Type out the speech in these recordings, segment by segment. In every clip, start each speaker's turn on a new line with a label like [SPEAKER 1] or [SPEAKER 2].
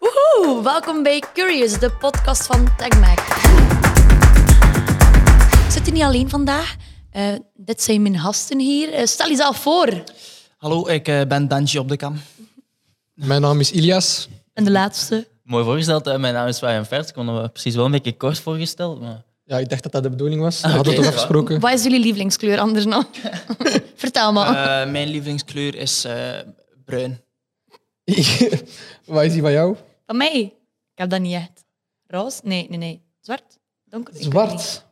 [SPEAKER 1] Hallo, welkom bij Curious, de podcast van TagMac. Ik zit hier niet alleen vandaag. Eh, dit zijn mijn gasten hier. Eh, stel jezelf voor.
[SPEAKER 2] Hallo, ik eh, ben Danji op de kam.
[SPEAKER 3] Mijn naam is Ilias.
[SPEAKER 1] En de laatste.
[SPEAKER 4] Mooi voorgesteld. hè. Mijn naam is Fabian Vert. Ik kon me precies wel een beetje kort voorgesteld. Maar...
[SPEAKER 3] Ja, ik dacht dat dat de bedoeling was.
[SPEAKER 1] Ah,
[SPEAKER 3] We hadden toch afgesproken.
[SPEAKER 1] Wat is jullie lievelingskleur anders nog? Vertel maar.
[SPEAKER 2] Eh, mijn lievelingskleur is eh, bruin.
[SPEAKER 3] Wat is die van jou?
[SPEAKER 1] Van mij? Ik heb dat niet echt. Roos? Nee, nee, nee. Zwart? Donker? Ik weet niet.
[SPEAKER 3] Zwart.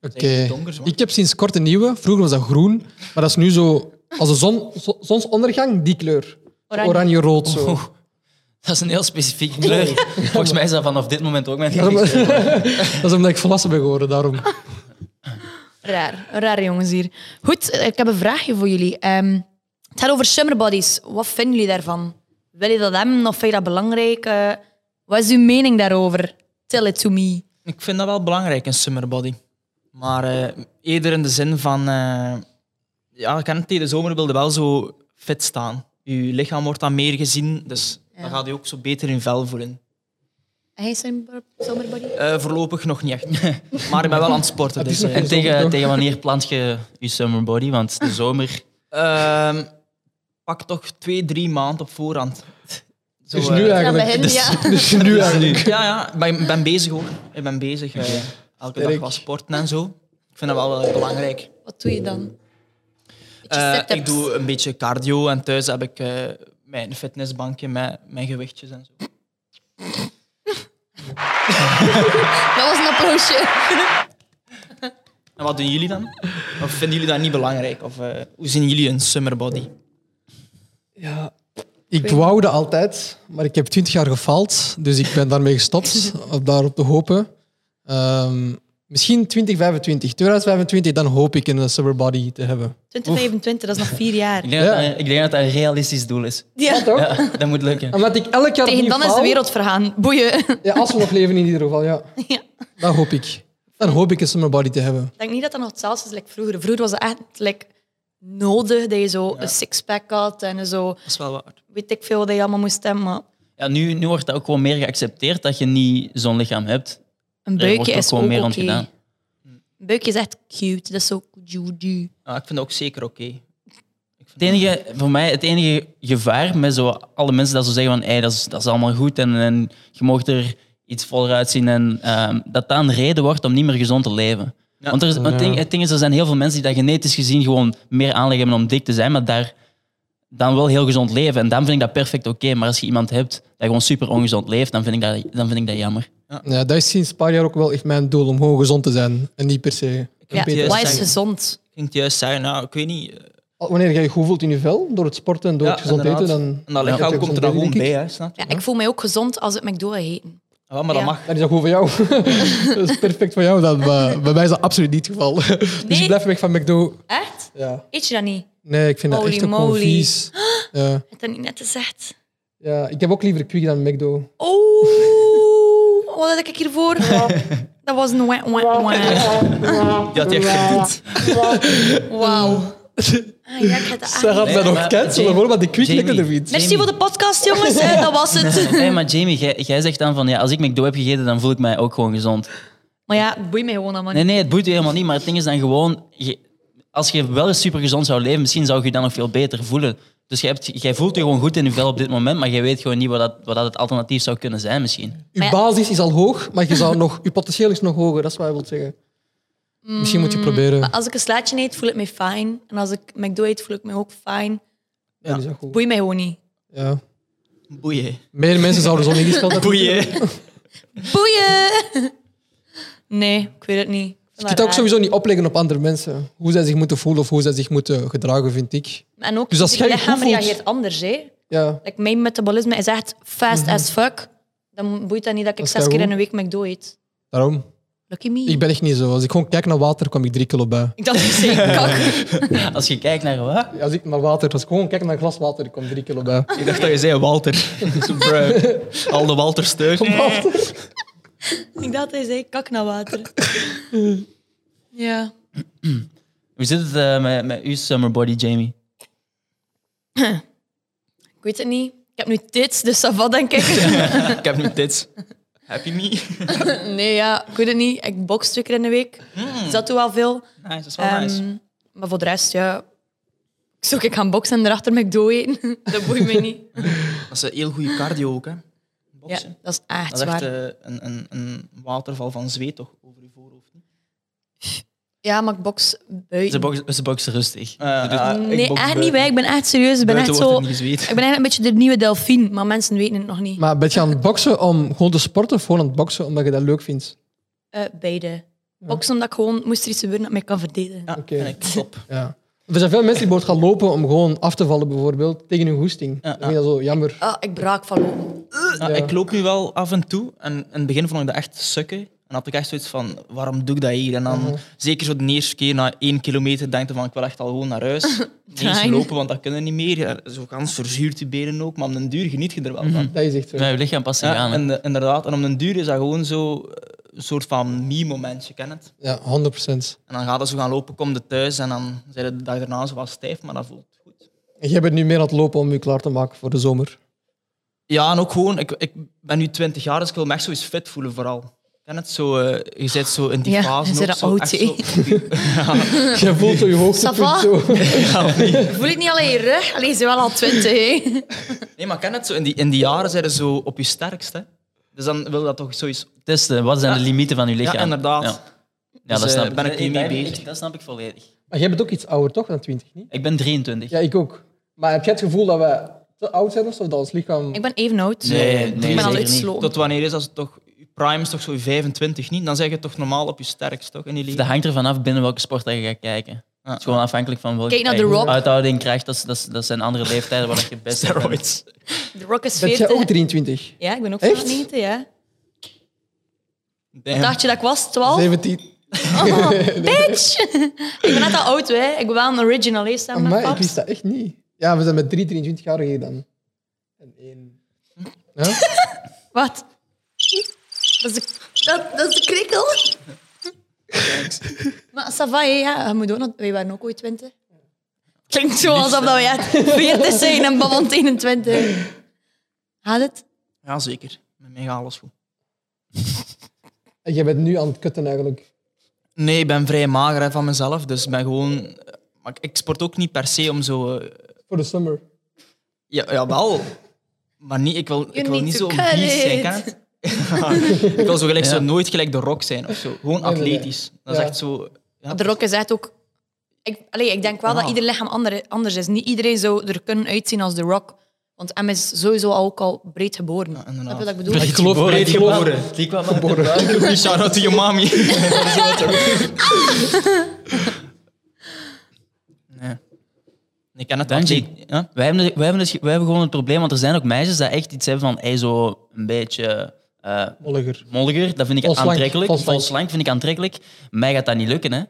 [SPEAKER 3] Oké.
[SPEAKER 2] Zeg, donker zwart.
[SPEAKER 3] Ik heb sinds kort een nieuwe. Vroeger was dat groen, maar dat is nu zo als de zon, zo- zonsondergang die kleur.
[SPEAKER 1] Oranje.
[SPEAKER 3] Oranje-rood zo.
[SPEAKER 4] Oeh, dat is een heel specifieke kleur. Volgens mij is dat vanaf dit moment ook mijn
[SPEAKER 3] Dat is
[SPEAKER 4] lievelingskleur.
[SPEAKER 3] om- dat is omdat ik volwassen ben geworden, daarom.
[SPEAKER 1] Raar. Rare jongens hier. Goed, eh, ik heb een vraagje voor jullie. Ehm, het gaat over summer bodies. Wat vinden jullie daarvan? Wil je dat hebben of vind je dat belangrijk? Eh, wat is uw mening daarover? Tell it to me.
[SPEAKER 2] Ik vind dat wel belangrijk, een summer body. Maar eh, eerder in de zin van... eh, ja, ik ken het, tegen de zomer wilde wel zo fit staan. Je lichaam wordt dan meer gezien, dus dan gaat je ook zo beter in vel voelen.
[SPEAKER 1] En jij summer, summer body?
[SPEAKER 2] Eh, voorlopig nog niet echt. maar ik ben wel aan het sporten.
[SPEAKER 3] Het is
[SPEAKER 2] Dus,
[SPEAKER 3] nog
[SPEAKER 2] eh,
[SPEAKER 4] En tegen, tegen wanneer plant je je summer body? Want de zomer...
[SPEAKER 2] ehm, pak toch twee, drie maanden op voorhand. Zo,
[SPEAKER 3] Dus nu
[SPEAKER 2] eh,
[SPEAKER 1] Ja, bij
[SPEAKER 3] eigenlijk.
[SPEAKER 1] hen, ja.
[SPEAKER 3] Dus nu eigenlijk.
[SPEAKER 2] Ja, ja, ik ben, ben bezig hoor. Ik ben bezig. eh, elke dag
[SPEAKER 3] Sterk.
[SPEAKER 2] wat sporten en zo. Ik vind dat wel eh, belangrijk.
[SPEAKER 1] Wat doe je dan? Beetje
[SPEAKER 2] Eh,
[SPEAKER 1] sit-ups.
[SPEAKER 2] ik doe een beetje cardio en thuis heb ik eh, mijn fitnessbankje met mijn gewichtjes en zo.
[SPEAKER 1] Dat was een applausje.
[SPEAKER 2] En wat doen jullie dan? Of vinden jullie dat niet belangrijk? Of eh, hoe zien jullie een summer body?
[SPEAKER 3] Ja. Ik wou dat altijd, maar ik heb 20 jaar gefaald. Dus ik ben daarmee gestopt, om daarop te hopen. Ehm, misschien 2025. 2025, dan hoop ik een summer body te hebben.
[SPEAKER 1] 2025, dat is nog vier jaar.
[SPEAKER 4] Ik denk,
[SPEAKER 3] Ja.
[SPEAKER 4] dat, dat- ik denk dat dat een realistisch doel is.
[SPEAKER 1] Ja.
[SPEAKER 3] Toch?
[SPEAKER 4] Ja, dat moet lukken.
[SPEAKER 3] Omdat ik elk jaar
[SPEAKER 1] Tegen
[SPEAKER 3] opnieuw
[SPEAKER 1] dan is de
[SPEAKER 3] faal.
[SPEAKER 1] wereld vergaan. Boeien.
[SPEAKER 3] Ja, als we nog leven in ieder geval, ja.
[SPEAKER 1] Ja.
[SPEAKER 3] Dat hoop ik. Dan hoop ik een summer body te hebben.
[SPEAKER 1] Ik denk niet dat dat nog hetzelfde is als like vroeger. Vroeger was het echt like, nodig dat je zo een sixpack had en zo
[SPEAKER 2] Dat is wel waar.
[SPEAKER 1] weet ik veel wat je allemaal moest hebben. Maar
[SPEAKER 4] Ja, nu, nu wordt dat ook gewoon meer geaccepteerd dat je niet zo'n lichaam hebt.
[SPEAKER 1] een
[SPEAKER 4] Er wordt
[SPEAKER 1] buikje
[SPEAKER 4] ook
[SPEAKER 1] is
[SPEAKER 4] gewoon
[SPEAKER 1] ook
[SPEAKER 4] meer
[SPEAKER 1] oké.
[SPEAKER 4] aan gedaan.
[SPEAKER 1] Een buikje is echt cute. Dat is ook juju.
[SPEAKER 2] Ja, ik vind dat ook zeker oké.
[SPEAKER 4] Het enige, voor mij, het enige gevaar met zo alle mensen dat zo zeggen van "Ey, dat, is, dat is allemaal goed en, en je mag er iets voller uitzien en ehm, dat dat een reden wordt om niet meer gezond te leven.
[SPEAKER 2] Ja.
[SPEAKER 4] Want er is, het, ding,
[SPEAKER 3] Ja.
[SPEAKER 4] het ding is, er zijn heel veel mensen die dat genetisch gezien gewoon meer aanleg hebben om dik te zijn, maar daar dan wel heel gezond leven. En dan vind ik dat perfect oké. Maar als je iemand hebt dat gewoon super ongezond leeft, dan vind ik dat, dan vind ik dat jammer.
[SPEAKER 3] Ja, dat is sinds een paar jaar ook wel echt mijn doel, om gewoon gezond te zijn. En niet per se.
[SPEAKER 1] Ja,
[SPEAKER 2] Peter
[SPEAKER 1] wat is
[SPEAKER 2] zeggen.
[SPEAKER 1] gezond?
[SPEAKER 2] Ik ging het juist zeggen, nou, ik weet niet. eh,
[SPEAKER 3] Al- Wanneer jij je goed voelt in je vel, door het sporten en door
[SPEAKER 2] ja,
[SPEAKER 3] het gezond
[SPEAKER 2] inderdaad.
[SPEAKER 3] eten, dan...
[SPEAKER 2] En dat
[SPEAKER 3] Ja.
[SPEAKER 2] lichaam
[SPEAKER 3] Ja.
[SPEAKER 2] komt er dan gewoon
[SPEAKER 3] Denk ik.
[SPEAKER 2] bij, hè, snap je?
[SPEAKER 1] Ja, ik voel mij ook gezond als het McDo gaat eten.
[SPEAKER 2] Ja, maar dat
[SPEAKER 1] Ja.
[SPEAKER 2] mag.
[SPEAKER 3] Dan is dat goed voor jou. dat is perfect voor jou dan, maar bij mij is dat absoluut niet het geval. Dus
[SPEAKER 1] Nee?
[SPEAKER 3] ik blijf weg van McDo.
[SPEAKER 1] Echt?
[SPEAKER 3] Ja.
[SPEAKER 1] Eet je dat niet?
[SPEAKER 3] Nee, ik vind
[SPEAKER 1] Holy
[SPEAKER 3] dat echt ook gewoon
[SPEAKER 1] moly.
[SPEAKER 3] vies. Ja.
[SPEAKER 1] Heb je dat niet net gezegd?
[SPEAKER 3] ja, ik heb ook liever Quick dan McDo.
[SPEAKER 1] Oh, wat had ik hiervoor? Dat was een wah, wah, wah.
[SPEAKER 2] Die had je echt verdiend.
[SPEAKER 1] Wauw. Ah, ja, ik had dat echt
[SPEAKER 3] Ze
[SPEAKER 1] niet.
[SPEAKER 3] gaat mij
[SPEAKER 4] Nee,
[SPEAKER 3] nog
[SPEAKER 4] maar-
[SPEAKER 3] cancelen,
[SPEAKER 4] Jamie-
[SPEAKER 3] hoor, want de Quick
[SPEAKER 4] Jamie-
[SPEAKER 3] lekkerder vindt.
[SPEAKER 1] Merci voor de podcast, jongens. hè. Dat was het.
[SPEAKER 4] Nee, maar Jamie, jij, jij zegt dan van ja, als ik McDo heb gegeten, dan voel ik mij ook gewoon gezond.
[SPEAKER 1] Maar ja, het boeit mij gewoon allemaal niet.
[SPEAKER 4] Nee, nee, het boeit je helemaal niet. Maar het ding is dan gewoon, je- als je wel eens supergezond zou leven, misschien zou je je dan nog veel beter voelen. Dus jij, hebt, jij voelt je gewoon goed in je vel op dit moment, maar jij weet gewoon niet wat, dat, wat dat het alternatief zou kunnen zijn misschien.
[SPEAKER 3] Je basis is al hoog, maar je, zou nog, je potentieel is nog hoger. Dat is wat je wilt zeggen. Misschien moet je proberen.
[SPEAKER 1] Als ik een slaatje eet, voel ik me fijn. En als ik McDo eet, voel ik me ook fijn.
[SPEAKER 3] Ja, die is ook goed.
[SPEAKER 1] Boeit mij gewoon niet.
[SPEAKER 3] Ja.
[SPEAKER 2] Boeien.
[SPEAKER 3] Meer mensen zouden zo ingesteld hebben.
[SPEAKER 2] Boeien.
[SPEAKER 1] Boeien! Nee, ik weet het niet. Ik vind
[SPEAKER 3] Je
[SPEAKER 1] dat
[SPEAKER 3] kunt ook
[SPEAKER 1] raar.
[SPEAKER 3] sowieso niet opleggen op andere mensen. Hoe zij zich moeten voelen of hoe zij zich moeten gedragen, vind ik.
[SPEAKER 1] En ook,
[SPEAKER 3] Dus als
[SPEAKER 1] je
[SPEAKER 3] jij je
[SPEAKER 1] lichaam
[SPEAKER 3] goed voelt-
[SPEAKER 1] reageert anders. Hè.
[SPEAKER 3] Ja,
[SPEAKER 1] Like, mijn metabolisme is echt fast as fuck. Dan boeit dat niet dat ik
[SPEAKER 3] Mhm. Dat is
[SPEAKER 1] zes keer
[SPEAKER 3] keigoed.
[SPEAKER 1] in een week McDo eet.
[SPEAKER 3] daarom.
[SPEAKER 1] Lucky me.
[SPEAKER 3] Ik ben echt niet zo. Als ik gewoon kijk naar water, kwam ik drie kilo bij.
[SPEAKER 1] Ik dacht, ik zei kak.
[SPEAKER 4] Als je kijkt naar wat?
[SPEAKER 3] Als ik naar water, als ik gewoon kijk naar een glas water, ik kwam drie kilo bij.
[SPEAKER 2] Ik dacht dat je zei Walter. Zo, bruh. Al de Walters thuis.
[SPEAKER 1] Ik dacht, hij zei kak naar water. Ja.
[SPEAKER 4] Hoe zit het eh, met, met uw summer body, Jamie?
[SPEAKER 1] Ik weet het niet. heb nu dit, dus dat valt denk ik.
[SPEAKER 2] Ik heb nu dit. Happy me.
[SPEAKER 1] Nee, ja, ik weet het niet. Ik box twee keer in de week.
[SPEAKER 3] Hmm.
[SPEAKER 1] Dus dat doe wel veel.
[SPEAKER 2] Nice, dat is wel nice.
[SPEAKER 1] Ehm, maar voor de rest, ja... Ik zou ik gaan boksen en erachter McDo eten. dat boeit me niet.
[SPEAKER 2] Dat is een heel goede cardio ook, hè.
[SPEAKER 1] Ja,
[SPEAKER 2] Boksen.
[SPEAKER 1] dat is echt
[SPEAKER 2] dat is
[SPEAKER 1] waar.
[SPEAKER 2] echt eh, een, een, een waterval van zweet toch over je voorhoofd. niet?
[SPEAKER 1] Ja, maar ik box buiten.
[SPEAKER 4] Ze boxen, ze boxen rustig.
[SPEAKER 2] Eh, eh, ik
[SPEAKER 1] nee,
[SPEAKER 2] boks
[SPEAKER 1] echt
[SPEAKER 2] buiten.
[SPEAKER 1] niet. wij. Ik ben echt serieus. Ik ben
[SPEAKER 2] Buiten
[SPEAKER 1] echt zo...
[SPEAKER 2] wordt er niet
[SPEAKER 1] Ik
[SPEAKER 2] gezweet.
[SPEAKER 1] ben eigenlijk een beetje de nieuwe Delphine, maar mensen weten het nog niet.
[SPEAKER 3] Maar ben je aan het boksen om gewoon te sporten of gewoon aan het boksen omdat je dat leuk vindt?
[SPEAKER 1] Eh, beide. Boksen omdat ik gewoon moest er iets gebeuren dat ik mij kan verdedigen.
[SPEAKER 2] Ja,
[SPEAKER 3] Oké.
[SPEAKER 2] vind ik top.
[SPEAKER 3] Ja. Er zijn veel mensen die bijvoorbeeld gaan lopen om gewoon af te vallen, bijvoorbeeld, tegen hun goesting.
[SPEAKER 2] Ja,
[SPEAKER 3] Ik vind dat zo jammer.
[SPEAKER 1] Ah, ik braak van lopen.
[SPEAKER 2] Ja,
[SPEAKER 3] Ja.
[SPEAKER 2] Ik loop nu wel af en toe. En in het begin vond ik dat echt sukken. En had ik echt zoiets van, waarom doe ik dat hier? En dan, zeker zo de eerste keer, na één kilometer, denk je van, ik wil echt al gewoon naar huis. Niet eens
[SPEAKER 1] Trein.
[SPEAKER 2] lopen, want dat kunnen niet meer. Ja, Zo gans verzuurt je benen ook. Maar om den duur geniet je er wel van.
[SPEAKER 3] Dat is echt zo.
[SPEAKER 4] Ja, je lichaam past zich
[SPEAKER 2] Ja,
[SPEAKER 4] aan. hè.
[SPEAKER 2] en, eh, inderdaad. En om den duur is dat gewoon zo eh, een soort van me-momentje, ken het?
[SPEAKER 3] Ja, 100 procent.
[SPEAKER 2] En dan gaat dat zo gaan lopen, kom je thuis en dan zijn de dag daarna zo wat stijf, maar dat voelt goed.
[SPEAKER 3] Jij bent nu meer aan het lopen om je klaar te maken voor de zomer.
[SPEAKER 2] Ja, en ook gewoon, ik, ik ben nu 20 jaar, dus ik wil me echt zo eens fit voelen vooral. Ken het? Zo, eh, je zit zo in die
[SPEAKER 1] Ja,
[SPEAKER 2] fase.
[SPEAKER 1] je
[SPEAKER 2] ook,
[SPEAKER 1] bent
[SPEAKER 2] zo,
[SPEAKER 1] oud,
[SPEAKER 2] echt
[SPEAKER 1] hè.
[SPEAKER 2] zo-
[SPEAKER 3] Jij voelt zo je hoogtepunt
[SPEAKER 1] Ça va?
[SPEAKER 3] zo.
[SPEAKER 1] Voel ik niet alleen je rug, alleen ze wel al twintig. hè.
[SPEAKER 2] Nee, maar ken het? Zo, in, die, in die jaren zijn ze zo op je sterkste. Dus dan wil dat toch zoiets...
[SPEAKER 4] Testen, wat zijn de
[SPEAKER 2] Ja.
[SPEAKER 4] limieten van je lichaam?
[SPEAKER 2] Ja, inderdaad.
[SPEAKER 4] Ja, Ja, dat
[SPEAKER 2] eh,
[SPEAKER 4] snap ik.
[SPEAKER 2] ben ik niet mee bezig.
[SPEAKER 4] Dat snap ik volledig.
[SPEAKER 3] Maar jij bent ook iets ouder toch dan 20, niet?
[SPEAKER 4] Ik ben 23.
[SPEAKER 3] Ja, ik ook. Maar heb jij het gevoel dat we te oud zijn of zo, dat ons lichaam...
[SPEAKER 1] Ik ben even oud.
[SPEAKER 4] Eh, Nee,
[SPEAKER 1] ik ben
[SPEAKER 4] zeker
[SPEAKER 1] al
[SPEAKER 4] niet.
[SPEAKER 1] uitsloten.
[SPEAKER 2] Tot wanneer is dat toch... je Prime is toch zo je 25, niet? Dan zeg je toch normaal op je sterkst, toch? In je leven?
[SPEAKER 4] Dat hangt ervan af binnen welke sport dat je gaat kijken. Het is gewoon afhankelijk van welke
[SPEAKER 1] Kijk naar The
[SPEAKER 4] krijg-
[SPEAKER 1] Rock.
[SPEAKER 4] uithouding krijgt. Dat, is- dat, is- dat zijn andere leeftijden waar dat je best
[SPEAKER 2] Steroids.
[SPEAKER 1] De Rock is
[SPEAKER 3] Ben jij ook
[SPEAKER 1] 40.
[SPEAKER 3] 23?
[SPEAKER 1] Ja, ik ben ook
[SPEAKER 3] Echt?
[SPEAKER 1] 94, ja.
[SPEAKER 2] Damn.
[SPEAKER 1] Dacht je dat ik was? 12?
[SPEAKER 3] 17.
[SPEAKER 1] Bitch! ik ben net al oud, hè. Ik ben wel een original, hè, samen met
[SPEAKER 3] Maar ik
[SPEAKER 1] paps.
[SPEAKER 3] wist dat echt niet. Ja, we zijn met drie 23-jarigen hier dan. En één... Ja?
[SPEAKER 1] Wat? Dat is de, dat, dat is de krikkel. maar Sava, ja, je moet ook nog, wij waren ook ooit 20. Klinkt zo alsof dat wij echt 40 zijn en babbelend 21. Gaat het?
[SPEAKER 2] Ja, zeker. Met mij gaat alles goed.
[SPEAKER 3] En jij bent nu aan het kutten eigenlijk.
[SPEAKER 2] Nee, ik ben vrij mager hè, van mezelf. Dus ik ben gewoon. Maar ik- ik sport ook niet per se om zo. eh,
[SPEAKER 3] Voor de summer.
[SPEAKER 2] Ja, jawel. Maar niet, ik wil, ik wil
[SPEAKER 1] need
[SPEAKER 2] niet zo
[SPEAKER 1] to cut
[SPEAKER 2] vies zijn.
[SPEAKER 1] it.
[SPEAKER 2] ken je het? ik wil zo gelijk zo
[SPEAKER 4] Ja.
[SPEAKER 2] nooit gelijk de rock zijn of zo. Gewoon
[SPEAKER 3] nee, nee.
[SPEAKER 2] atletisch. Dat is
[SPEAKER 3] Ja.
[SPEAKER 2] echt zo. Ja,
[SPEAKER 1] De Rock is echt ook... Ik, allee, ik denk wel
[SPEAKER 2] Ja.
[SPEAKER 1] dat ieder lichaam ander- anders is. Niet iedereen zou er kunnen uitzien als de Rock. Want M is sowieso al- ook al breed geboren.
[SPEAKER 2] Ja,
[SPEAKER 1] Snap je
[SPEAKER 2] inderdaad.
[SPEAKER 1] wat ik bedoel?
[SPEAKER 4] Breed
[SPEAKER 2] geloof
[SPEAKER 4] geboren,
[SPEAKER 2] breed
[SPEAKER 4] die kwam-
[SPEAKER 2] geboren.
[SPEAKER 4] Die kwam uit de buik.
[SPEAKER 2] Goeie shout out to your mommy. nee. Ik ken het
[SPEAKER 4] Dank je.
[SPEAKER 2] atleet- Ja?
[SPEAKER 4] Wij hebben, wij, hebben dus, wij hebben gewoon het probleem, want er zijn ook meisjes dat echt iets hebben van hey, zo een beetje eh
[SPEAKER 3] Molliger.
[SPEAKER 4] molliger. Dat vind ik
[SPEAKER 3] Vol slank,
[SPEAKER 4] aantrekkelijk.
[SPEAKER 3] vol
[SPEAKER 4] Vol
[SPEAKER 3] slank.
[SPEAKER 4] slank. vind ik aantrekkelijk. Mij gaat dat niet lukken, hè. Ik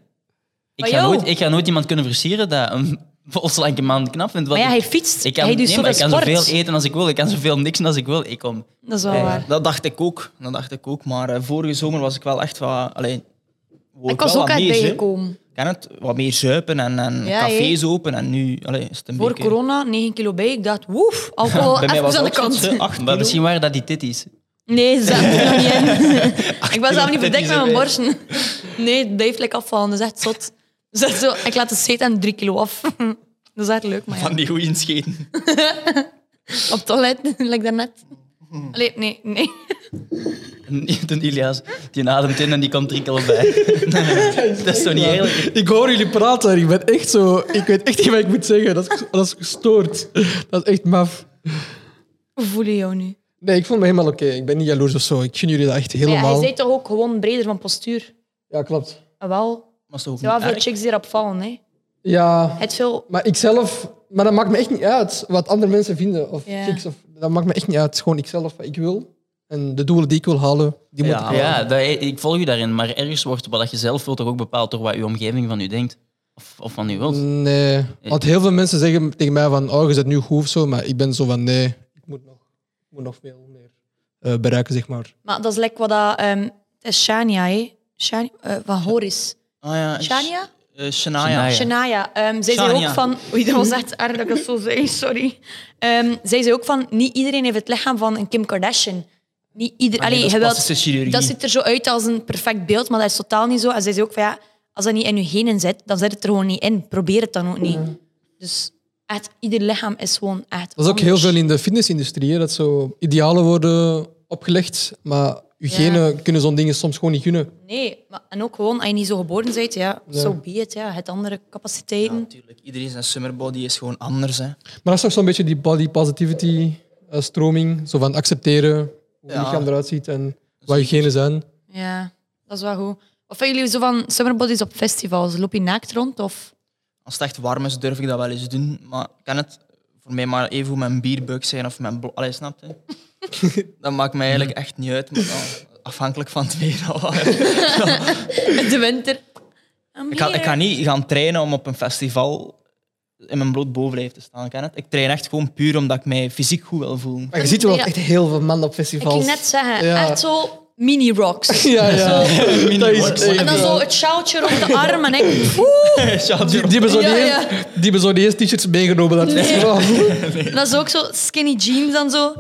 [SPEAKER 1] Maar
[SPEAKER 4] ga,
[SPEAKER 1] jou?
[SPEAKER 4] nooit, ik ga nooit iemand kunnen versieren dat een vol slanke man knap vindt.
[SPEAKER 1] Maar
[SPEAKER 4] want
[SPEAKER 1] ja,
[SPEAKER 4] ik-
[SPEAKER 1] hij fietst.
[SPEAKER 4] ik kan,
[SPEAKER 1] hij doet
[SPEAKER 4] nee, maar
[SPEAKER 1] zoveel
[SPEAKER 4] ik kan
[SPEAKER 1] sport.
[SPEAKER 4] zoveel eten als ik wil. Ik kan zoveel niksen als ik wil. Ik kom.
[SPEAKER 1] Dat is wel
[SPEAKER 4] Ja, ja.
[SPEAKER 1] waar.
[SPEAKER 2] Dat dacht ik ook. Dat dacht ik ook. Maar eh, vorige zomer was ik wel echt wat. Alleen,
[SPEAKER 1] Ik was ook uit bijgekomen.
[SPEAKER 2] ken het, wat meer zuipen en, en
[SPEAKER 1] Ja,
[SPEAKER 2] cafés open. En nu allee, is het een
[SPEAKER 1] Voor
[SPEAKER 2] beetje...
[SPEAKER 1] corona, 9 kilo bij. Ik dacht, woef, alcohol
[SPEAKER 2] Bij mij was
[SPEAKER 1] even aan de
[SPEAKER 2] dat ook
[SPEAKER 1] kant.
[SPEAKER 2] zo'n 8
[SPEAKER 4] Maar
[SPEAKER 2] kilo.
[SPEAKER 4] misschien waren dat die titties.
[SPEAKER 1] Nee, ze zaten er nog niet in. ik was zelf niet verdekt
[SPEAKER 2] titties
[SPEAKER 1] met mijn
[SPEAKER 2] erbij.
[SPEAKER 1] borsten. Nee, het blijft lekker afvallen. Dat is echt zot. Dus dat is zo, ik laat het zeten en 3 kilo af. Dat is echt leuk, maar ja.
[SPEAKER 2] Van die goeie scheten.
[SPEAKER 1] Op het toilet, like daarnet. Allee, nee, nee.
[SPEAKER 4] En toen Ilias, die ademt in en die komt drie kilo bij. Dat is zo niet eerlijk.
[SPEAKER 3] Ik hoor jullie praten en ik ben echt zo... Ik weet echt niet wat ik moet zeggen. Dat is, dat is gestoord. Dat is echt maf.
[SPEAKER 1] Hoe voel je jou nu?
[SPEAKER 3] Nee, ik voel me helemaal oké. Ik ben niet jaloers of zo. Ik gun jullie dat echt
[SPEAKER 1] Ja,
[SPEAKER 3] helemaal.
[SPEAKER 1] hij
[SPEAKER 3] Ja,
[SPEAKER 1] zei toch ook gewoon breder van postuur?
[SPEAKER 3] klopt.
[SPEAKER 1] Ah, Wel,
[SPEAKER 2] Maar is toch
[SPEAKER 1] er zijn
[SPEAKER 2] ook niet
[SPEAKER 1] wel veel
[SPEAKER 2] erg?
[SPEAKER 1] chicks die erop vallen. Hè.
[SPEAKER 3] Ja,
[SPEAKER 1] Het veel...
[SPEAKER 3] maar ikzelf... Maar dat maakt me echt niet uit wat andere mensen vinden. Of
[SPEAKER 1] Ja.
[SPEAKER 3] chicks. Of, dat maakt me echt niet uit. Gewoon ikzelf, wat ik wil. En de doelen die ik wil halen, die moet ik
[SPEAKER 2] Ja.
[SPEAKER 3] halen.
[SPEAKER 4] Ja, dat, ik volg je daarin. Maar ergens wordt wat je zelf wilt toch ook bepaald door wat je omgeving van u denkt. Of, of van u
[SPEAKER 3] Mm,
[SPEAKER 4] wilt.
[SPEAKER 3] Nee. Want heel veel mensen zeggen tegen mij van, oh, je bent nu goed of zo. Maar ik ben zo van, nee, ik moet nog, ik moet nog veel meer eh, bereiken, zeg maar.
[SPEAKER 1] Maar dat is lekker wat dat... ehm, het is Shania, hè. Shania, eh, van Horis.
[SPEAKER 2] Ah, ja.
[SPEAKER 1] Shania?
[SPEAKER 2] Eh,
[SPEAKER 4] Dus
[SPEAKER 2] Shania.
[SPEAKER 4] Shania.
[SPEAKER 1] Shania, ehm, zij zei
[SPEAKER 2] Shania.
[SPEAKER 1] ook van... Oei, dat was echt erg dat ik dat zo zei, sorry. Ehm, zij zei ook van, niet iedereen heeft het lichaam van een Kim Kardashian. Niet iedereen...
[SPEAKER 2] Ah, nee, dat is
[SPEAKER 1] je wilt-
[SPEAKER 2] plastische chirurgie.
[SPEAKER 1] dat ziet er zo uit als een perfect beeld, maar dat is totaal niet zo. En zij zei ook van, ja, als dat niet in je genen zit, dan zit het er gewoon niet in. Probeer het dan ook niet. Dus echt, ieder lichaam is gewoon echt
[SPEAKER 3] Mhm. Dat is ook heel
[SPEAKER 1] anders.
[SPEAKER 3] veel in de fitnessindustrie, hè, dat zo idealen worden opgelegd, maar je
[SPEAKER 1] Ja.
[SPEAKER 3] genen kunnen zo'n dingen soms gewoon niet gunnen.
[SPEAKER 1] Nee, maar, en ook gewoon, als je niet zo geboren bent, ja, zo so be it. Ja. Het andere
[SPEAKER 2] Ja,
[SPEAKER 1] capaciteiten.
[SPEAKER 2] natuurlijk. Iedereen zijn summerbody is gewoon anders. Hè.
[SPEAKER 3] Maar dat is toch zo'n beetje die body positivity eh, stroming, zo van accepteren hoe je
[SPEAKER 2] Ja.
[SPEAKER 3] lichaam eruit ziet en wat je genen zijn.
[SPEAKER 1] Ja. dat is wel goed. Of vinden jullie zo van summerbodies op festivals? Loop je naakt rond? Of...
[SPEAKER 2] Als het echt warm is, durf ik dat wel eens doen. Maar ik kan het voor mij maar even hoe mijn bierbuik zijn of mijn... blo- Allee, snapt hè? dat maakt mij eigenlijk echt niet uit. Maar dan, afhankelijk van het weer. al.
[SPEAKER 1] De winter. I'm
[SPEAKER 2] ik, ga, ik
[SPEAKER 1] here.
[SPEAKER 2] ga niet gaan trainen om op een festival in mijn bloot bovenlijf te staan. Ken het? Ik train echt gewoon puur omdat ik mij fysiek goed wil voelen.
[SPEAKER 3] Maar je ziet wel
[SPEAKER 1] Ja.
[SPEAKER 3] echt heel veel mannen op
[SPEAKER 1] Ik ging
[SPEAKER 3] festivals.
[SPEAKER 1] net zeggen,
[SPEAKER 3] Ja.
[SPEAKER 1] echt zo mini-rocks.
[SPEAKER 3] Ja, ja. Dat is
[SPEAKER 2] works.
[SPEAKER 3] echt,
[SPEAKER 1] En dan
[SPEAKER 3] ja.
[SPEAKER 1] zo het sjaaltje rond de arm en ik... Woe!
[SPEAKER 2] Shout
[SPEAKER 3] Die,
[SPEAKER 2] out.
[SPEAKER 3] die hebben zo
[SPEAKER 1] Ja,
[SPEAKER 3] niet
[SPEAKER 1] ja.
[SPEAKER 3] eens- die hebben zo niet eens t-shirts meegenomen Oh, naar het festival.
[SPEAKER 1] Dat is ook zo skinny jeans en zo.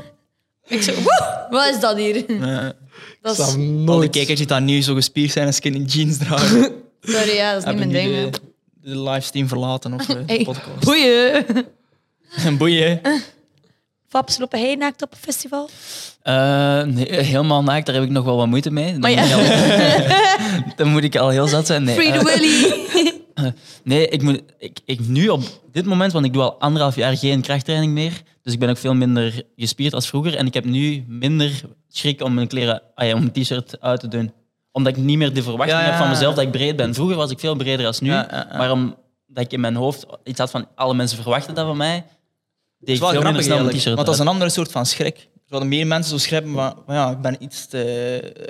[SPEAKER 1] Ik zo, woe! Wat is dat hier?
[SPEAKER 2] Eh,
[SPEAKER 1] Dat
[SPEAKER 3] Dat
[SPEAKER 1] is,
[SPEAKER 3] zou
[SPEAKER 2] Al die
[SPEAKER 3] nooit.
[SPEAKER 2] kijkers die daar nu zo gespierd zijn en skinny jeans dragen,
[SPEAKER 1] sorry, ja, dat is niet mijn
[SPEAKER 2] hebben nu
[SPEAKER 1] ding.
[SPEAKER 2] de,
[SPEAKER 1] hè.
[SPEAKER 2] de livestream verlaten of eh, de
[SPEAKER 1] Hey,
[SPEAKER 2] podcast.
[SPEAKER 1] boeien.
[SPEAKER 2] En boeien. hè.
[SPEAKER 1] Vaps, lopen hij naakt op een festival?
[SPEAKER 4] Eh, nee, helemaal naakt, daar heb ik nog wel wat moeite mee. Dan,
[SPEAKER 1] Maar ja.
[SPEAKER 4] moet, ik al, dan moet ik al heel zat zijn. Nee,
[SPEAKER 1] Free
[SPEAKER 4] eh,
[SPEAKER 1] the Willy.
[SPEAKER 4] nee ik moet ik, ik nu op dit moment, want ik doe al anderhalf jaar geen krachttraining meer. Dus ik ben ook veel minder gespierd als vroeger. En ik heb nu minder schrik om mijn kleren, ah ja, om mijn t-shirt uit te doen. Omdat ik niet meer de verwachting
[SPEAKER 2] Ja, ja,
[SPEAKER 4] heb van
[SPEAKER 2] ja.
[SPEAKER 4] mezelf dat ik breed ben. Vroeger was ik veel breder als nu.
[SPEAKER 2] Ja, ja, ja.
[SPEAKER 4] Maar omdat ik in mijn hoofd iets had van alle mensen verwachten dat van mij, deed
[SPEAKER 2] Het
[SPEAKER 4] ik
[SPEAKER 2] is wel
[SPEAKER 4] veel minder
[SPEAKER 2] grappig
[SPEAKER 4] snel mijn
[SPEAKER 2] eigenlijk,
[SPEAKER 4] t-shirt
[SPEAKER 2] want dat is
[SPEAKER 4] uit.
[SPEAKER 2] een andere soort van schrik. Er zouden meer mensen zo schrikken van, van ja, ik ben iets te...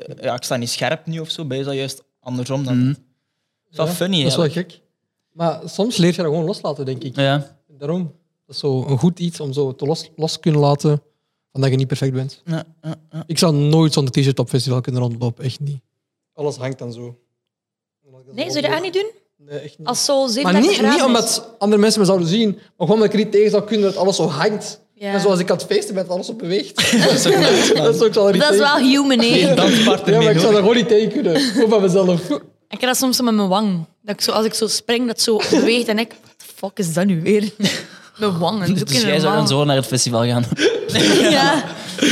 [SPEAKER 2] eh, Ja, ik sta niet scherp nu of zo, bij is dat juist andersom dan...
[SPEAKER 4] Mhm.
[SPEAKER 2] Dat is wel
[SPEAKER 3] Ja,
[SPEAKER 2] funny
[SPEAKER 3] Dat is wel
[SPEAKER 2] eigenlijk.
[SPEAKER 3] gek. Maar soms leer je dat gewoon loslaten, denk ik.
[SPEAKER 4] Ja.
[SPEAKER 3] Daarom. Dat is zo een goed iets om zo te los, los kunnen laten van dat je niet perfect bent.
[SPEAKER 2] Ja, ja, ja.
[SPEAKER 3] Ik zou nooit zonder t-shirt op festival kunnen rondlopen, echt niet. Alles hangt dan zo.
[SPEAKER 1] Nee, zou je dat echt niet doen?
[SPEAKER 3] Nee, echt niet.
[SPEAKER 1] Als zo
[SPEAKER 3] Maar
[SPEAKER 1] 37
[SPEAKER 3] niet,
[SPEAKER 1] graden
[SPEAKER 3] niet
[SPEAKER 1] is.
[SPEAKER 3] omdat andere mensen me zouden zien, maar gewoon omdat ik er niet tegen zou kunnen dat alles zo hangt.
[SPEAKER 1] Ja.
[SPEAKER 3] En zoals ik aan het feesten ben, dat alles op beweegt. dat is ook- dat zou ik zou er niet
[SPEAKER 1] Dat is
[SPEAKER 3] tegen-
[SPEAKER 1] wel human, hè?
[SPEAKER 2] Geen danspartner
[SPEAKER 3] Ja, maar ik
[SPEAKER 2] meer,
[SPEAKER 3] zou
[SPEAKER 2] hoor.
[SPEAKER 3] er gewoon niet tegen kunnen. Gewoon van mezelf.
[SPEAKER 1] Ik heb dat soms zo met mijn wang. Dat ik zo, als ik zo spring, dat zo beweegt en ik... What the fuck is dat nu weer? Mijn wangen. doe ik
[SPEAKER 4] Dus
[SPEAKER 1] in
[SPEAKER 4] jij
[SPEAKER 1] mijn
[SPEAKER 4] zou dan
[SPEAKER 1] wang.
[SPEAKER 4] zo naar het festival gaan.
[SPEAKER 1] Ja.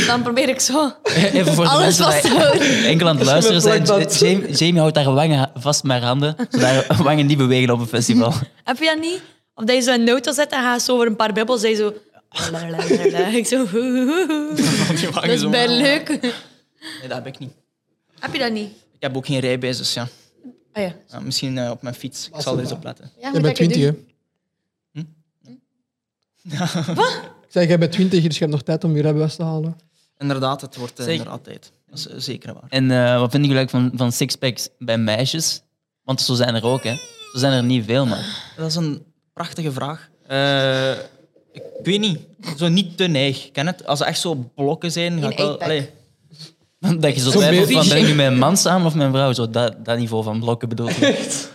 [SPEAKER 1] Dan probeer ik zo
[SPEAKER 4] Even voor de
[SPEAKER 1] alles
[SPEAKER 4] mensen
[SPEAKER 1] vast te
[SPEAKER 4] die
[SPEAKER 1] houden.
[SPEAKER 4] enkel aan het luisteren
[SPEAKER 3] Misschien
[SPEAKER 4] zijn.
[SPEAKER 3] een plakband.
[SPEAKER 4] Jamie, Jamie houdt haar wangen vast met haar handen, zodat haar wangen niet bewegen op een festival.
[SPEAKER 1] Heb je dat niet? Of dat je zo een auto zet en gaat zo over een paar bubbels en je zo... "Oh, Ik zo...
[SPEAKER 2] Die wagen
[SPEAKER 1] Dat is
[SPEAKER 2] zo.
[SPEAKER 1] bij leuk.
[SPEAKER 2] Nee, dat heb ik niet.
[SPEAKER 1] Heb je dat niet?
[SPEAKER 2] Ik heb ook geen rijbewijs, dus ja.
[SPEAKER 1] Oh ja.
[SPEAKER 2] Ja, misschien eh, op mijn fiets. Ik zal er eens op letten.
[SPEAKER 1] ja
[SPEAKER 3] Jij bent 20, hè?
[SPEAKER 1] dus-
[SPEAKER 3] Ik zei, jij bent 20, dus je hebt nog tijd om je rijbewijs te halen.
[SPEAKER 2] Inderdaad, het wordt eh,
[SPEAKER 4] Zeker.
[SPEAKER 2] er altijd. Dat is eh, zeker waar.
[SPEAKER 4] En eh, wat vind je leuk van, van sixpacks bij meisjes? Want zo zijn er ook, hè. Zo zijn er niet veel, man.
[SPEAKER 2] Dat is een prachtige vraag. Eh, ik weet niet. Zo niet te neig. Ken het? Als er echt zo blokken zijn, ga
[SPEAKER 1] Een
[SPEAKER 2] ik wel...
[SPEAKER 1] eight-pack.
[SPEAKER 2] allee.
[SPEAKER 4] Dat je zo
[SPEAKER 3] Zo'n
[SPEAKER 4] twijfelt van,
[SPEAKER 3] beetje.
[SPEAKER 4] ben ik nu met een man samen of met een vrouw? Zo, dat, dat niveau van blokken bedoel ik.
[SPEAKER 2] Dat is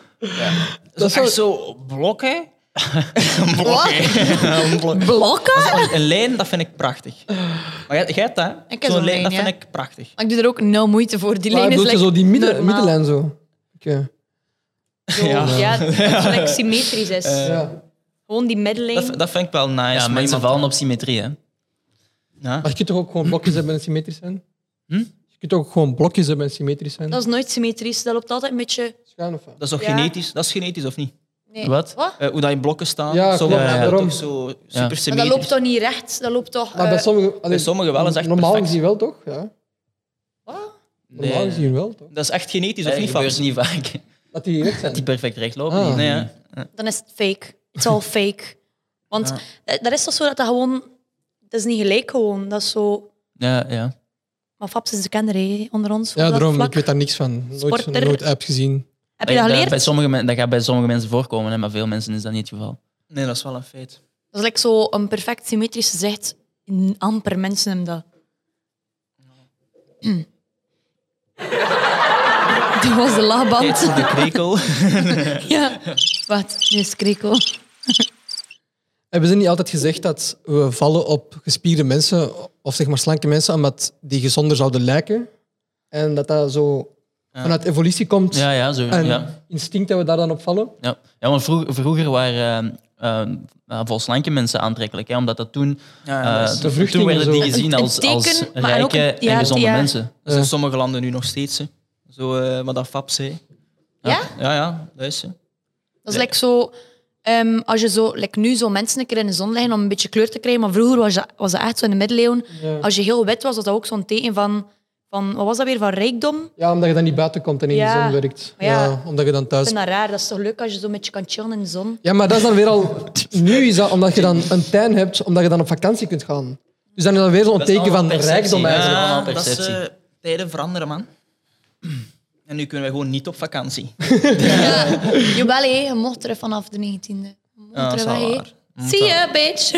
[SPEAKER 3] zou-
[SPEAKER 2] echt zo blokken. blokken. Blokken.
[SPEAKER 1] Blokken?
[SPEAKER 2] Een lijn, dat vind ik prachtig. Maar jij, jij hebt dat, hè?
[SPEAKER 1] Ik heb zo'n lijn,
[SPEAKER 2] dat
[SPEAKER 1] ja.
[SPEAKER 2] vind ik prachtig.
[SPEAKER 1] Maar ik doe er ook nul moeite voor. Die
[SPEAKER 3] Maar
[SPEAKER 1] lijn is
[SPEAKER 3] bedoel je
[SPEAKER 1] lekker
[SPEAKER 3] zo die midden,
[SPEAKER 1] normaal.
[SPEAKER 3] middenlijn zo? Oké.
[SPEAKER 1] Zo, Ja, dat het gelijk symmetrisch is.
[SPEAKER 3] Ja.
[SPEAKER 1] Gewoon die
[SPEAKER 2] Dat,
[SPEAKER 1] middenlijn.
[SPEAKER 2] vind- dat vind ik wel nice.
[SPEAKER 4] Ja,
[SPEAKER 2] maar
[SPEAKER 4] mensen
[SPEAKER 2] iemand-
[SPEAKER 4] vallen op symmetrie, hè.
[SPEAKER 2] Ja.
[SPEAKER 3] Maar je kunt toch ook gewoon blokjes hebben en symmetrisch zijn?
[SPEAKER 4] Hm?
[SPEAKER 3] Je kunt toch ook gewoon blokjes hebben en symmetrisch zijn?
[SPEAKER 1] Dat is nooit symmetrisch. Dat loopt altijd een beetje...
[SPEAKER 3] Schuin of wat?
[SPEAKER 2] Dat is toch
[SPEAKER 1] Ja.
[SPEAKER 2] genetisch? Dat is genetisch, of niet?
[SPEAKER 1] Nee.
[SPEAKER 4] Wat?
[SPEAKER 1] Wat?
[SPEAKER 2] Eh, hoe dat in blokken staan. zo
[SPEAKER 3] Ja, klopt,
[SPEAKER 2] wordt dat
[SPEAKER 3] daarom.
[SPEAKER 2] toch zo
[SPEAKER 4] Ja.
[SPEAKER 2] super
[SPEAKER 1] Maar dat
[SPEAKER 2] symmetrisch.
[SPEAKER 1] loopt toch niet recht? Dat loopt toch...
[SPEAKER 3] Maar bij
[SPEAKER 1] eh,
[SPEAKER 3] sommigen, allee,
[SPEAKER 2] sommigen wel, is echt
[SPEAKER 3] Normaal
[SPEAKER 2] perfect.
[SPEAKER 3] gezien wel, toch? Ja.
[SPEAKER 1] wat?
[SPEAKER 3] Normaal
[SPEAKER 4] Nee.
[SPEAKER 3] gezien wel, toch?
[SPEAKER 2] Dat is echt genetisch, of
[SPEAKER 4] Dat
[SPEAKER 2] niet?
[SPEAKER 4] Eh, gebeurt
[SPEAKER 2] Fabs?
[SPEAKER 4] niet vaak.
[SPEAKER 3] Dat die recht zijn.
[SPEAKER 4] Die perfect recht lopen
[SPEAKER 3] Ah.
[SPEAKER 4] niet.
[SPEAKER 2] Nee, hè?
[SPEAKER 1] Dan is het fake. It's all fake. Want eh, dat is toch zo dat dat gewoon... Dat is niet gelijk gewoon. Dat is zo...
[SPEAKER 4] Ja, ja.
[SPEAKER 1] Maar Fabs is de kenner hè, onder ons.
[SPEAKER 3] Ja,
[SPEAKER 1] op dat
[SPEAKER 3] daarom.
[SPEAKER 1] vlak.
[SPEAKER 3] Ik weet daar niks van. Nooit,
[SPEAKER 1] Sporter.
[SPEAKER 3] nooit app gezien.
[SPEAKER 1] Heb je dat
[SPEAKER 4] Dat-
[SPEAKER 1] geleerd?
[SPEAKER 4] Bij sommige, men- dat gaat bij sommige mensen voorkomen, hè, maar veel mensen is dat niet het geval.
[SPEAKER 2] Nee, dat is wel een feit.
[SPEAKER 1] Dat is like zo een perfect symmetrisch gezicht. N- Amper mensen hebben dat. Hm. Dat was de lachband.
[SPEAKER 2] De krekel.
[SPEAKER 1] Ja. Wat? Nu is het krekel.
[SPEAKER 3] Hebben ze niet altijd gezegd dat we vallen op gespierde mensen, of zeg maar slanke mensen, omdat die gezonder zouden lijken? En dat dat zo vanuit evolutie komt
[SPEAKER 4] Ja, ja, zo.
[SPEAKER 3] en
[SPEAKER 4] Ja.
[SPEAKER 3] instinct dat we daar dan op vallen?
[SPEAKER 4] Ja, ja want vroeg- vroeger waren eh, eh, eh, vooral slanke mensen aantrekkelijk, hè, omdat dat toen,
[SPEAKER 2] Ja, ja,
[SPEAKER 4] eh,
[SPEAKER 2] dat is-
[SPEAKER 3] De vruchting
[SPEAKER 4] toen werden
[SPEAKER 3] en
[SPEAKER 4] die
[SPEAKER 3] zo.
[SPEAKER 4] gezien
[SPEAKER 1] Een- een
[SPEAKER 4] als, als
[SPEAKER 1] teken, maar ook
[SPEAKER 4] rijke
[SPEAKER 1] een- ja,
[SPEAKER 4] en gezonde
[SPEAKER 1] ja.
[SPEAKER 4] mensen.
[SPEAKER 2] dat is in sommige landen nu nog steeds. Hè. Zo eh, wat dat Fab zei.
[SPEAKER 1] Ja?
[SPEAKER 2] Ja, ja, dat is ze.
[SPEAKER 1] Dat is like zo... ehm, als je zo, like nu zo mensen een keer in de zon leggen om een beetje kleur te krijgen, maar vroeger was dat, was dat echt zo in de middeleeuwen.
[SPEAKER 3] Ja.
[SPEAKER 1] Als je heel wit was, was dat ook zo'n teken van, van... Wat was dat weer? Van rijkdom?
[SPEAKER 3] Ja, omdat je dan niet buiten komt en in
[SPEAKER 1] Ja.
[SPEAKER 3] de zon werkt.
[SPEAKER 1] Maar ja.
[SPEAKER 3] Ja. omdat je dan
[SPEAKER 1] Ik
[SPEAKER 3] thuis...
[SPEAKER 1] vind dat raar. Dat is toch leuk als je zo met je kan chillen in de zon?
[SPEAKER 3] Ja, maar dat is dan weer al... Nu is dat omdat je dan een tuin hebt, omdat je dan op vakantie kunt gaan. Dus dan is dat weer zo'n
[SPEAKER 4] Dat is
[SPEAKER 3] teken van
[SPEAKER 4] allemaal perceptie,
[SPEAKER 3] rijkdom
[SPEAKER 4] hè.
[SPEAKER 3] eigenlijk.
[SPEAKER 4] Ja,
[SPEAKER 2] Ja,
[SPEAKER 4] dat
[SPEAKER 2] dat
[SPEAKER 4] is,
[SPEAKER 2] is,
[SPEAKER 4] eh,
[SPEAKER 2] tijden veranderen, man. En nu kunnen wij gewoon niet op vakantie.
[SPEAKER 1] Jawel, hé. Je mocht er vanaf de 19e. Je mocht
[SPEAKER 2] Ja, dat
[SPEAKER 1] er
[SPEAKER 2] is
[SPEAKER 1] wel,
[SPEAKER 2] wel
[SPEAKER 1] hé.
[SPEAKER 2] waar.
[SPEAKER 1] Zie je, bitch.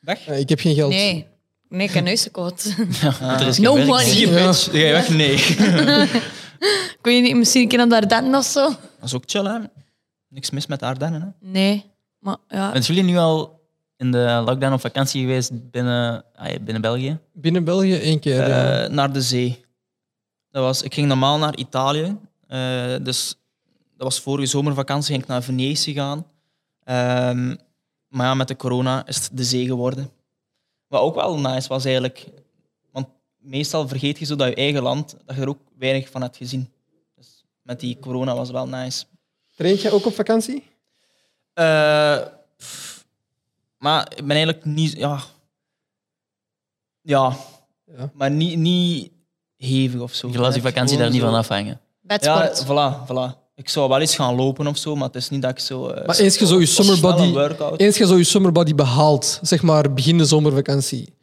[SPEAKER 2] Weg?
[SPEAKER 3] Eh, Ik heb geen geld.
[SPEAKER 1] Nee. Nee, ik heb neus gekocht.
[SPEAKER 4] Er is
[SPEAKER 1] No
[SPEAKER 4] geen werk.
[SPEAKER 1] money.
[SPEAKER 2] Zie je,
[SPEAKER 3] Ja.
[SPEAKER 2] bitch. Ga je weg? Nee.
[SPEAKER 1] Ik weet niet, misschien een keer naar de Ardennen of zo?
[SPEAKER 2] Dat is ook chill, hè. Niks mis met de Ardennen, hè.
[SPEAKER 1] Nee. Maar ja,
[SPEAKER 4] Zijn jullie nu al in de lockdown op vakantie geweest binnen, ah ja, binnen België?
[SPEAKER 3] Binnen België één keer. ja.
[SPEAKER 2] Eh, naar de zee. Dat was, ik ging normaal naar Italië. Eh, dus dat was vorige zomervakantie, ging ik naar Venetië gaan. Ehm, maar ja, met de corona is het de zee geworden. Wat ook wel nice was eigenlijk. Want meestal vergeet je zo dat je eigen land, dat je er ook weinig van hebt gezien. Dus met die corona was het wel nice.
[SPEAKER 3] Traint jij ook op vakantie?
[SPEAKER 2] Eh, pff. maar ik ben eigenlijk niet... Ja, ja.
[SPEAKER 3] Ja.
[SPEAKER 2] maar niet, niet hevig of zo.
[SPEAKER 4] Je laat je
[SPEAKER 2] Echt
[SPEAKER 4] vakantie daar
[SPEAKER 2] gewoon
[SPEAKER 4] niet
[SPEAKER 2] zo-
[SPEAKER 4] van afhangen.
[SPEAKER 1] bedsport.
[SPEAKER 2] Ja, voilà, voilà. Ik zou wel eens gaan lopen of zo, maar het is niet dat ik zo... eh,
[SPEAKER 3] Maar eens je zo je
[SPEAKER 2] snel
[SPEAKER 3] summer
[SPEAKER 2] een
[SPEAKER 3] body,
[SPEAKER 2] workout.
[SPEAKER 3] eens je zo je summer body behaalt, zeg maar begin de zomervakantie,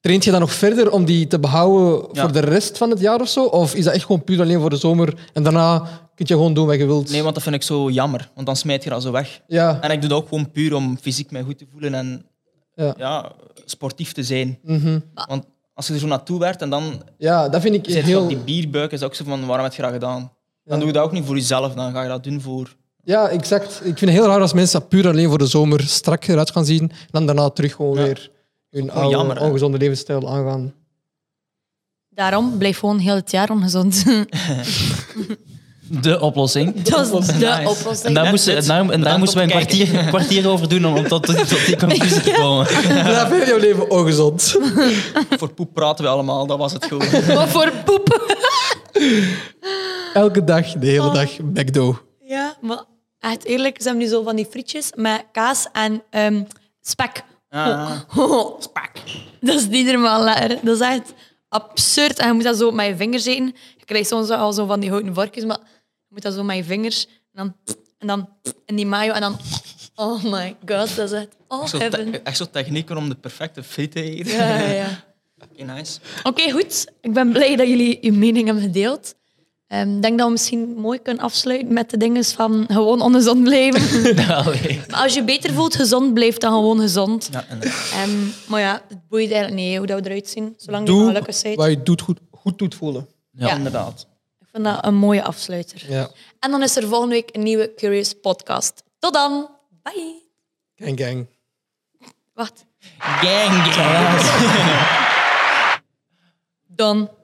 [SPEAKER 3] traint je dan nog verder om die te behouden
[SPEAKER 2] Ja.
[SPEAKER 3] voor de rest van het jaar of zo? Of is dat echt gewoon puur alleen voor de zomer en daarna kun je gewoon doen wat je wilt?
[SPEAKER 2] Nee, want dat vind ik zo jammer, want dan smijt je dat zo weg.
[SPEAKER 3] Ja,
[SPEAKER 2] En ik doe dat ook gewoon puur om fysiek mij goed te voelen en
[SPEAKER 3] Ja.
[SPEAKER 2] ja. sportief te zijn.
[SPEAKER 3] mhm.
[SPEAKER 2] Want als je er zo naartoe werd en dan
[SPEAKER 3] ja dat vind ik
[SPEAKER 2] zit je
[SPEAKER 3] heel...
[SPEAKER 2] op die bierbuik, is dat ook zo van, waarom heb je dat gedaan? Dan
[SPEAKER 3] Ja.
[SPEAKER 2] doe je dat ook niet voor jezelf, dan ga je dat doen voor...
[SPEAKER 3] Ja, exact. Ik vind het heel raar als mensen dat puur alleen voor de zomer strak eruit gaan zien en dan daarna terug gewoon
[SPEAKER 2] Ja.
[SPEAKER 3] weer hun
[SPEAKER 2] gewoon
[SPEAKER 3] oude,
[SPEAKER 2] jammer, hè?
[SPEAKER 3] ongezonde levensstijl aangaan.
[SPEAKER 1] Daarom blijf gewoon heel het jaar ongezond.
[SPEAKER 4] De oplossing.
[SPEAKER 1] dat is de
[SPEAKER 2] Nice.
[SPEAKER 4] En
[SPEAKER 1] oplossing.
[SPEAKER 4] daar
[SPEAKER 2] Net
[SPEAKER 4] moesten, en
[SPEAKER 2] dit.
[SPEAKER 4] daar, en daar
[SPEAKER 2] Bedankt
[SPEAKER 4] moesten
[SPEAKER 2] om
[SPEAKER 4] wij een
[SPEAKER 2] te kijken.
[SPEAKER 4] kwartier, een kwartier over doen om tot, tot, tot die conclusie te komen.
[SPEAKER 3] Blijf heel jouw leven ongezond.
[SPEAKER 2] voor poep praten we allemaal, dat was het gewoon.
[SPEAKER 1] Wat voor poep.
[SPEAKER 3] Elke dag, de
[SPEAKER 2] Ah.
[SPEAKER 3] hele dag, McDo.
[SPEAKER 1] Ja, maar echt eerlijk, ze hebben nu zo van die frietjes met kaas en ehm, spek.
[SPEAKER 2] Ah.
[SPEAKER 1] Ho, ho. Dat is niet normaal lekker. Dat is echt absurd. En je moet dat zo met je vingers eten. Je krijgt soms al zo van die houten vorkjes, maar je moet dat zo met je vingers. En dan, en dan in die mayo. En dan, oh my god, dat is echt all
[SPEAKER 2] Echt zo, te-
[SPEAKER 1] heaven.
[SPEAKER 2] echt zo technieken om de perfecte friet te eten.
[SPEAKER 1] Ja, ja, ja.
[SPEAKER 2] Oké, nice.
[SPEAKER 1] Oké, goed. Ik ben blij dat jullie uw mening hebben gedeeld. Ehm, Ik denk dat we misschien mooi kunnen afsluiten met de dingen van gewoon ongezond blijven.
[SPEAKER 4] Allee.
[SPEAKER 1] maar als je beter voelt, gezond blijft dan gewoon gezond.
[SPEAKER 2] Ja, inderdaad.
[SPEAKER 1] Ehm, maar ja, het boeit eigenlijk niet hè, hoe dat we eruit zien, zolang je maar
[SPEAKER 3] Doe
[SPEAKER 1] gelukkig bent.
[SPEAKER 3] wat je doet goed, goed doet voelen.
[SPEAKER 4] Ja.
[SPEAKER 2] inderdaad.
[SPEAKER 1] Ik vind dat een mooie afsluiter.
[SPEAKER 3] Ja.
[SPEAKER 1] En dan is er volgende week een nieuwe Curious podcast. Tot dan. Bye.
[SPEAKER 3] Gang, gang.
[SPEAKER 1] Wacht.
[SPEAKER 2] Gang, gang.
[SPEAKER 1] Dan.